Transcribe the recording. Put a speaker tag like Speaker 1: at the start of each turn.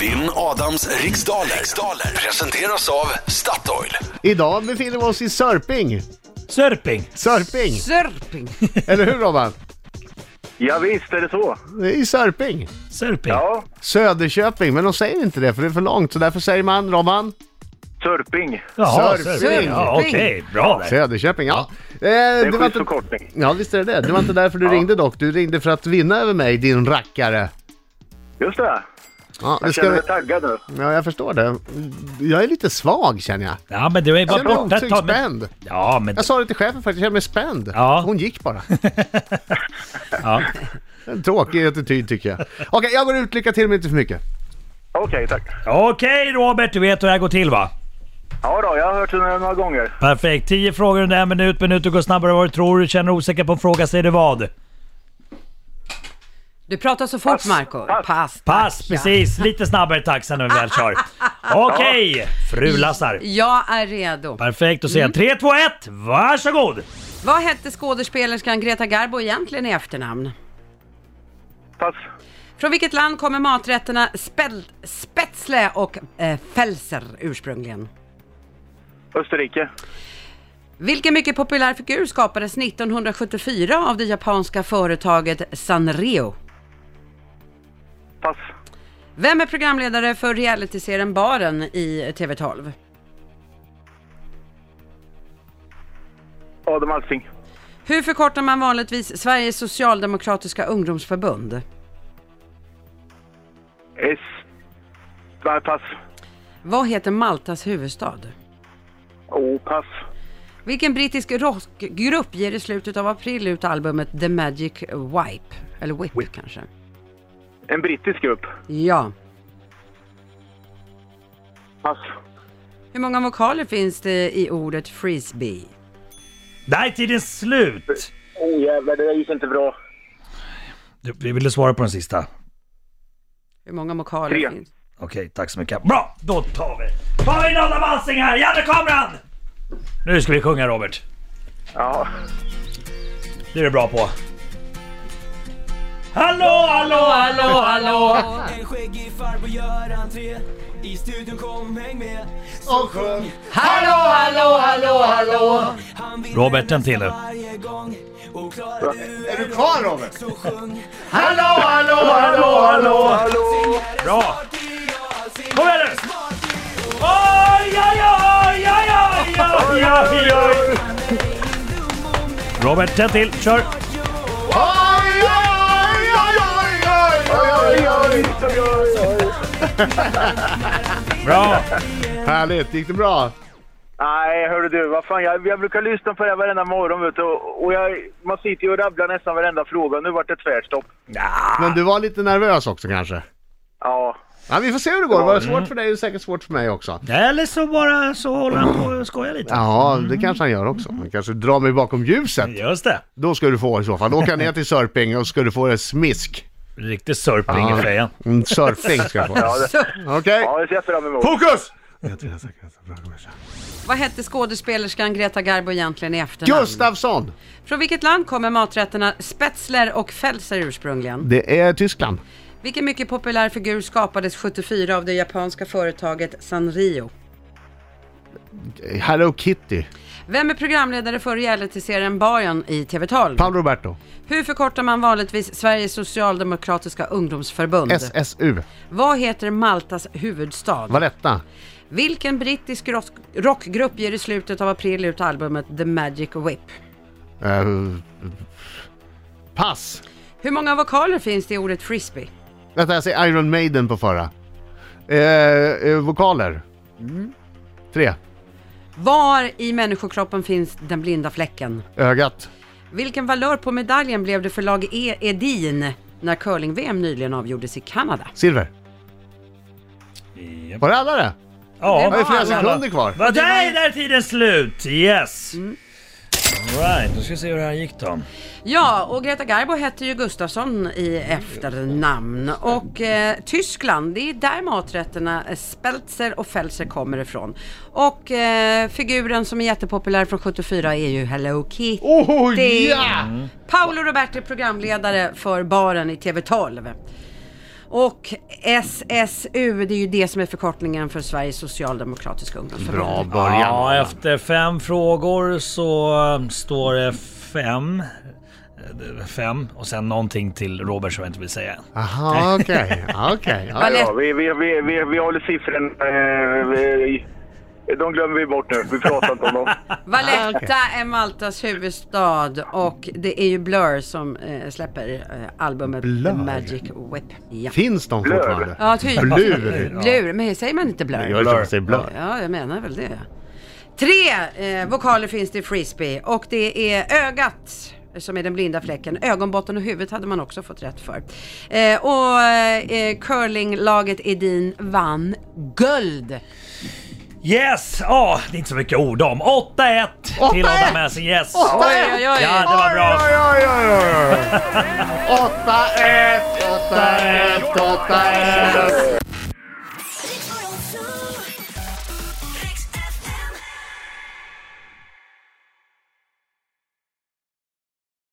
Speaker 1: Vinn Adams riksdaler. riksdaler presenteras av Statoil.
Speaker 2: Idag befinner vi oss i Sörping.
Speaker 3: Sörping!
Speaker 2: Sörping!
Speaker 4: Sörping!
Speaker 2: Eller hur Robban?
Speaker 5: Ja, visst är det så.
Speaker 2: Det är I Sörping.
Speaker 3: Sörping!
Speaker 5: Ja,
Speaker 2: Söderköping, men de säger inte det för det är för långt så därför säger man Robban.
Speaker 5: Sörping.
Speaker 3: Jaha,
Speaker 2: Sörping.
Speaker 3: Ja, okej, bra där.
Speaker 2: Söderköping, ja. Eh,
Speaker 5: Det är
Speaker 2: det
Speaker 5: en
Speaker 2: var
Speaker 5: schysst
Speaker 2: inte...
Speaker 5: förkortning.
Speaker 2: Ja visst är det det. Det var inte därför du ringde dock. Du ringde för att vinna över mig din rackare.
Speaker 5: Just det.
Speaker 2: Ja, det
Speaker 5: Jag
Speaker 2: ska
Speaker 5: känner
Speaker 2: vi...
Speaker 5: mig taggad nu.
Speaker 2: ja, jag förstår det. Jag är lite svag känner jag.
Speaker 3: Ja, men du är
Speaker 2: Jag
Speaker 3: bara
Speaker 2: känner
Speaker 3: borta
Speaker 2: mig
Speaker 3: ett tag. Men...
Speaker 2: spänd.
Speaker 3: Ja, men...
Speaker 2: Jag sa det till chefen faktiskt, jag känner mig spänd.
Speaker 3: Ja.
Speaker 2: Hon gick bara.
Speaker 3: Ja.
Speaker 2: En tråkig attityd tycker jag. Okej, jag går ut. Lycka till men inte för mycket.
Speaker 5: Okej, tack.
Speaker 3: Okej Robert, du vet hur det här går till va?
Speaker 5: Ja då, jag har hört det några gånger.
Speaker 3: Perfekt. 10 frågor under en minut. Minuter går snabbare än vad du tror. Du känner osäker på en fråga säger du vad?
Speaker 4: Du pratar så fort Marco.
Speaker 5: Pass.
Speaker 4: Pass.
Speaker 3: Pass,
Speaker 4: tack, ja.
Speaker 3: precis. Lite snabbare tack sen när vi väl kör. Okej, fru Lassar.
Speaker 4: Jag är redo.
Speaker 3: Perfekt, då säger jag
Speaker 2: Mm.
Speaker 3: 3, 2, 1, varsågod!
Speaker 4: Vad hette skådespelerskan Greta Garbo egentligen i efternamn?
Speaker 5: Pass.
Speaker 4: Från vilket land kommer maträtterna spel- spätzle och eh, fälser ursprungligen?
Speaker 5: Österrike.
Speaker 4: Vilken mycket populär figur skapades 1974 av det japanska företaget Sanrio?
Speaker 5: Pass.
Speaker 4: Vem är programledare för realityserien Baren i TV12?
Speaker 5: Adam Alsing.
Speaker 4: Hur förkortar man vanligtvis Sveriges socialdemokratiska ungdomsförbund?
Speaker 5: S. Nej, pass.
Speaker 4: Vad heter Maltas huvudstad?
Speaker 5: Oh, pass.
Speaker 4: Vilken brittisk rockgrupp ger i slutet av april ut albumet The Magic Wipe? Eller Whip, kanske?
Speaker 5: En brittisk grupp.
Speaker 4: Ja.
Speaker 5: Pass.
Speaker 4: Hur många vokaler finns det i ordet frisbee?
Speaker 3: Där är tiden slut!
Speaker 5: Oh, jävlar, det där gick inte bra.
Speaker 3: Du, vi ville svara på den sista.
Speaker 4: Hur många vokaler
Speaker 5: Tre.
Speaker 4: finns?
Speaker 3: Okej, tack så mycket. Bra! Då tar vi... Ta in Adam Alsing här! Janne kameran! Nu ska vi sjunga Robert.
Speaker 5: Ja.
Speaker 3: Det är du bra på. Hallå, hallå, hallå, hallå!
Speaker 6: En skäggig farbror gör entré I studion kom häng med
Speaker 2: Och sjung.
Speaker 3: Hallå, hallå, hallå, hallå!
Speaker 6: Han vinner
Speaker 3: Robert, en till nu.
Speaker 6: nästan varje gång Och klarar du en
Speaker 2: kvar Robert?
Speaker 6: så sjung
Speaker 3: Hallå, hallå, hallå, hallå! Bra! Kom igen nu! Oj, oj, oj, oj, oj, oj, oj, oj! Robert, en till. Kör! Bra!
Speaker 2: Härligt, gick det bra?
Speaker 5: Nej, hörru du, vad fan, jag, jag brukar lyssna på det här varenda morgon, vet du. Och och jag, man sitter ju och rabblar nästan varenda fråga. Nu vart det tvärstopp.
Speaker 2: Men du var lite nervös också kanske?
Speaker 5: Ja.
Speaker 2: Ja, vi får se hur det går. Var det svårt för dig är det säkert svårt för mig också.
Speaker 3: Eller så bara så håller han på och skojar lite.
Speaker 2: Ja, det kanske han gör också. Han kanske drar mig bakom ljuset.
Speaker 3: Just det.
Speaker 2: Då ska du få i så fall. Åka ner till Sörping och ska du få en smisk.
Speaker 3: Riktig sörpling i fejan.
Speaker 2: En surfing ska du få.
Speaker 5: Ja, det,
Speaker 2: Okej.
Speaker 5: ja, det ser jag fram emot.
Speaker 2: Fokus!
Speaker 4: Vad hette skådespelerskan Greta Garbo egentligen i efternamn?
Speaker 2: Gustafsson!
Speaker 4: Från vilket land kommer maträtterna Spätzler och Fälser ursprungligen?
Speaker 2: Det är Tyskland.
Speaker 4: Vilken mycket populär figur skapades 74 av det japanska företaget Sanrio?
Speaker 2: Hello Kitty.
Speaker 4: Vem är programledare för realityserien Baren i TV12?
Speaker 2: Paolo Roberto.
Speaker 4: Hur förkortar man vanligtvis Sveriges socialdemokratiska ungdomsförbund?
Speaker 2: SSU.
Speaker 4: Vad heter Maltas huvudstad?
Speaker 2: Valletta.
Speaker 4: Vilken brittisk rock rockgrupp ger i slutet av april ut albumet The Magic Whip?
Speaker 2: Eh, pass.
Speaker 4: Hur många vokaler finns det i ordet frisbee?
Speaker 2: Vänta, jag säger Iron Maiden på förra. Eh, eh, vokaler.
Speaker 4: Mm.
Speaker 2: Tre.
Speaker 4: Var i människokroppen finns den blinda fläcken?
Speaker 2: Ögat.
Speaker 4: Vilken valör på medaljen blev det för lag e Edin när curling-VM nyligen avgjordes i Kanada?
Speaker 2: Silver. Var det alla det?
Speaker 3: Ja,
Speaker 2: Det är flera
Speaker 4: alla,
Speaker 2: sekunder kvar.
Speaker 3: Va, där, där är tiden slut! Yes! Alright, då ska vi se hur det här gick då.
Speaker 4: Ja, och Greta Garbo hette ju Gustafsson i efternamn. Och eh, Tyskland, det är där maträtterna eh, Speltzer och Felser kommer ifrån. Och eh, figuren som är jättepopulär från 74 är ju Hello Kitty.
Speaker 2: Oh
Speaker 4: Paolo Roberti, programledare för Baren i TV12. Och SSU, det är ju det som är förkortningen för Sveriges Socialdemokratiska Ungdomsförbund.
Speaker 2: Bra början.
Speaker 3: Ja, efter fem frågor så eh, står det fem. Eh, Fem och sen någonting till Robert som jag inte vill säga än.
Speaker 2: Aha, okej. Ja, Okej.
Speaker 4: Vad
Speaker 2: Ja.
Speaker 4: lätt.
Speaker 5: Ja, vi, vi, vi, vi, vi håller siffren. Eh, vi, de glömmer vi bort nu. Vi pratar inte om dem.
Speaker 4: Valletta är Maltas huvudstad och det är ju Blur som eh, släpper eh, albumet
Speaker 2: Blur?
Speaker 4: Magic Whip. Ja,
Speaker 2: Finns de
Speaker 5: Blur.
Speaker 2: fortfarande?
Speaker 4: ja typ.
Speaker 2: Blur.
Speaker 4: Blur, men säger man inte Blur?
Speaker 2: Jag är som säger blur.
Speaker 4: Ja, jag menar väl det. Tre eh, vokaler finns det i frisbee och det är ögat som är den blinda fläcken. Ögonbotten och huvudet hade man också fått rätt för. Eh, och eh, curlinglaget Edin vann guld.
Speaker 3: Yes! Ja, det är inte så mycket ord om. 8-1 till
Speaker 2: 8-1.
Speaker 3: Adam Messing. Yes!
Speaker 4: Oj, oj, oj.
Speaker 3: Ja, det var bra.
Speaker 2: Oj, oj, oj, oj, oj. 8-1, 8-1, 8-1.